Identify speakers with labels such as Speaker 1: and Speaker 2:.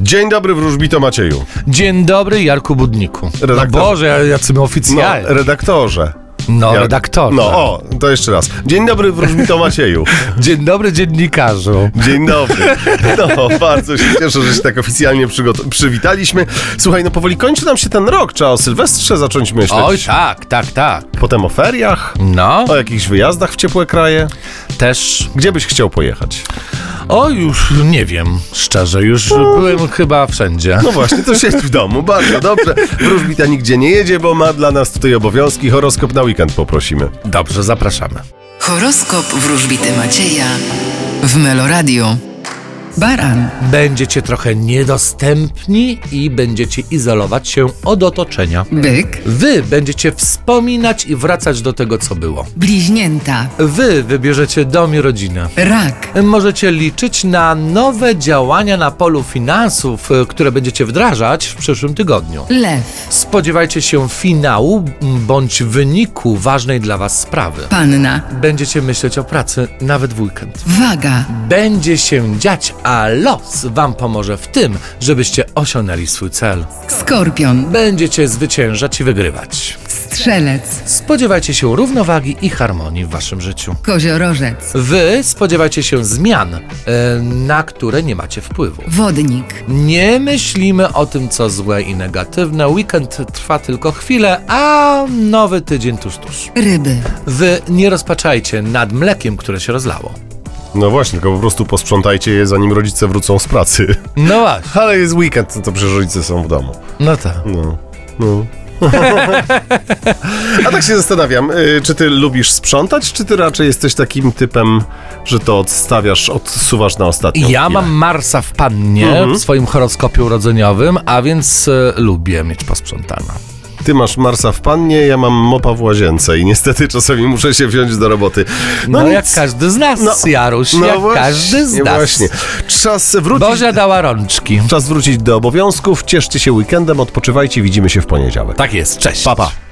Speaker 1: Dzień dobry, wróżbito Macieju.
Speaker 2: Dzień dobry, Jarku Budniku. No
Speaker 1: Redaktor.
Speaker 2: Boże, jacy my
Speaker 1: No,
Speaker 2: oficjalni. No,
Speaker 1: redaktorze. Ja-
Speaker 2: redaktorze.
Speaker 1: No, o, to jeszcze raz. Dzień dobry, wróżbito Macieju.
Speaker 2: Dzień dobry, dziennikarzu.
Speaker 1: Dzień dobry. No, bardzo się cieszę, że się tak oficjalnie przygot- przywitaliśmy. Słuchaj, no powoli kończy nam się ten rok. Trzeba o Sylwestrze zacząć myśleć.
Speaker 2: Oj, tak, tak, tak.
Speaker 1: Potem o feriach,
Speaker 2: No,
Speaker 1: o jakichś wyjazdach w ciepłe kraje.
Speaker 2: też.
Speaker 1: Gdzie byś chciał pojechać?
Speaker 2: O, już nie wiem, szczerze, już byłem chyba wszędzie.
Speaker 1: No właśnie, to siedź w domu, bardzo dobrze. Wróżbita nigdzie nie jedzie, bo ma dla nas tutaj obowiązki. Horoskop na weekend poprosimy.
Speaker 2: Dobrze, zapraszamy.
Speaker 3: Horoskop wróżbity Macieja w Meloradio. Baran,
Speaker 2: Będziecie trochę niedostępni i będziecie izolować się od otoczenia.
Speaker 3: byk,
Speaker 2: Wy będziecie wspominać i wracać do tego, co było.
Speaker 3: bliźnięta,
Speaker 2: Wy wybierzecie dom i rodzinę.
Speaker 3: rak,
Speaker 2: Możecie liczyć na nowe działania na polu finansów, y, które będziecie wdrażać w przyszłym tygodniu.
Speaker 3: lew,
Speaker 2: Spodziewajcie się finału m, bądź wyniku ważnej dla Was sprawy.
Speaker 3: panna,
Speaker 2: Będziecie myśleć o pracy nawet w weekend.
Speaker 3: waga,
Speaker 2: Będzie się dziać, a los Wam pomoże w tym, żebyście osiągnęli swój cel.
Speaker 3: skorpion,
Speaker 2: Będziecie zwyciężać i wygrywać.
Speaker 3: strzelec,
Speaker 2: Spodziewajcie się równowagi i harmonii w Waszym życiu.
Speaker 3: koziorożec,
Speaker 2: Wy spodziewajcie się zmian, y, na które nie macie wpływu.
Speaker 3: wodnik,
Speaker 2: Nie myślimy o tym, co złe i negatywne. Weekend trwa tylko chwilę, a nowy tydzień tuż tuż.
Speaker 3: ryby,
Speaker 2: Wy nie rozpaczajcie nad mlekiem, które się rozlało.
Speaker 1: No właśnie, tylko po prostu posprzątajcie je, zanim rodzice wrócą z pracy.
Speaker 2: No właśnie.
Speaker 1: Ale jest weekend, to przecież rodzice są w domu.
Speaker 2: No tak.
Speaker 1: No, no. A tak się zastanawiam, y, czy ty lubisz sprzątać, czy ty raczej jesteś takim typem, że to odstawiasz, odsuwasz na ostatnią
Speaker 2: Ja
Speaker 1: chwilę?
Speaker 2: mam Marsa w pannie w swoim horoskopie urodzeniowym, a więc y, lubię mieć posprzątane.
Speaker 1: Ty masz Marsa w pannie, ja mam mopa w łazience i niestety czasami muszę się wziąć do roboty.
Speaker 2: No, jak
Speaker 1: nic. no
Speaker 2: każdy z nas, Jaruś, jak każdy z
Speaker 1: nie,
Speaker 2: nas.
Speaker 1: Właśnie. Czas wrócić...
Speaker 2: Bozia dała rączki.
Speaker 1: Czas wrócić do obowiązków, cieszcie się weekendem, odpoczywajcie, widzimy się w poniedziałek.
Speaker 2: Tak jest, cześć.
Speaker 1: Pa, pa.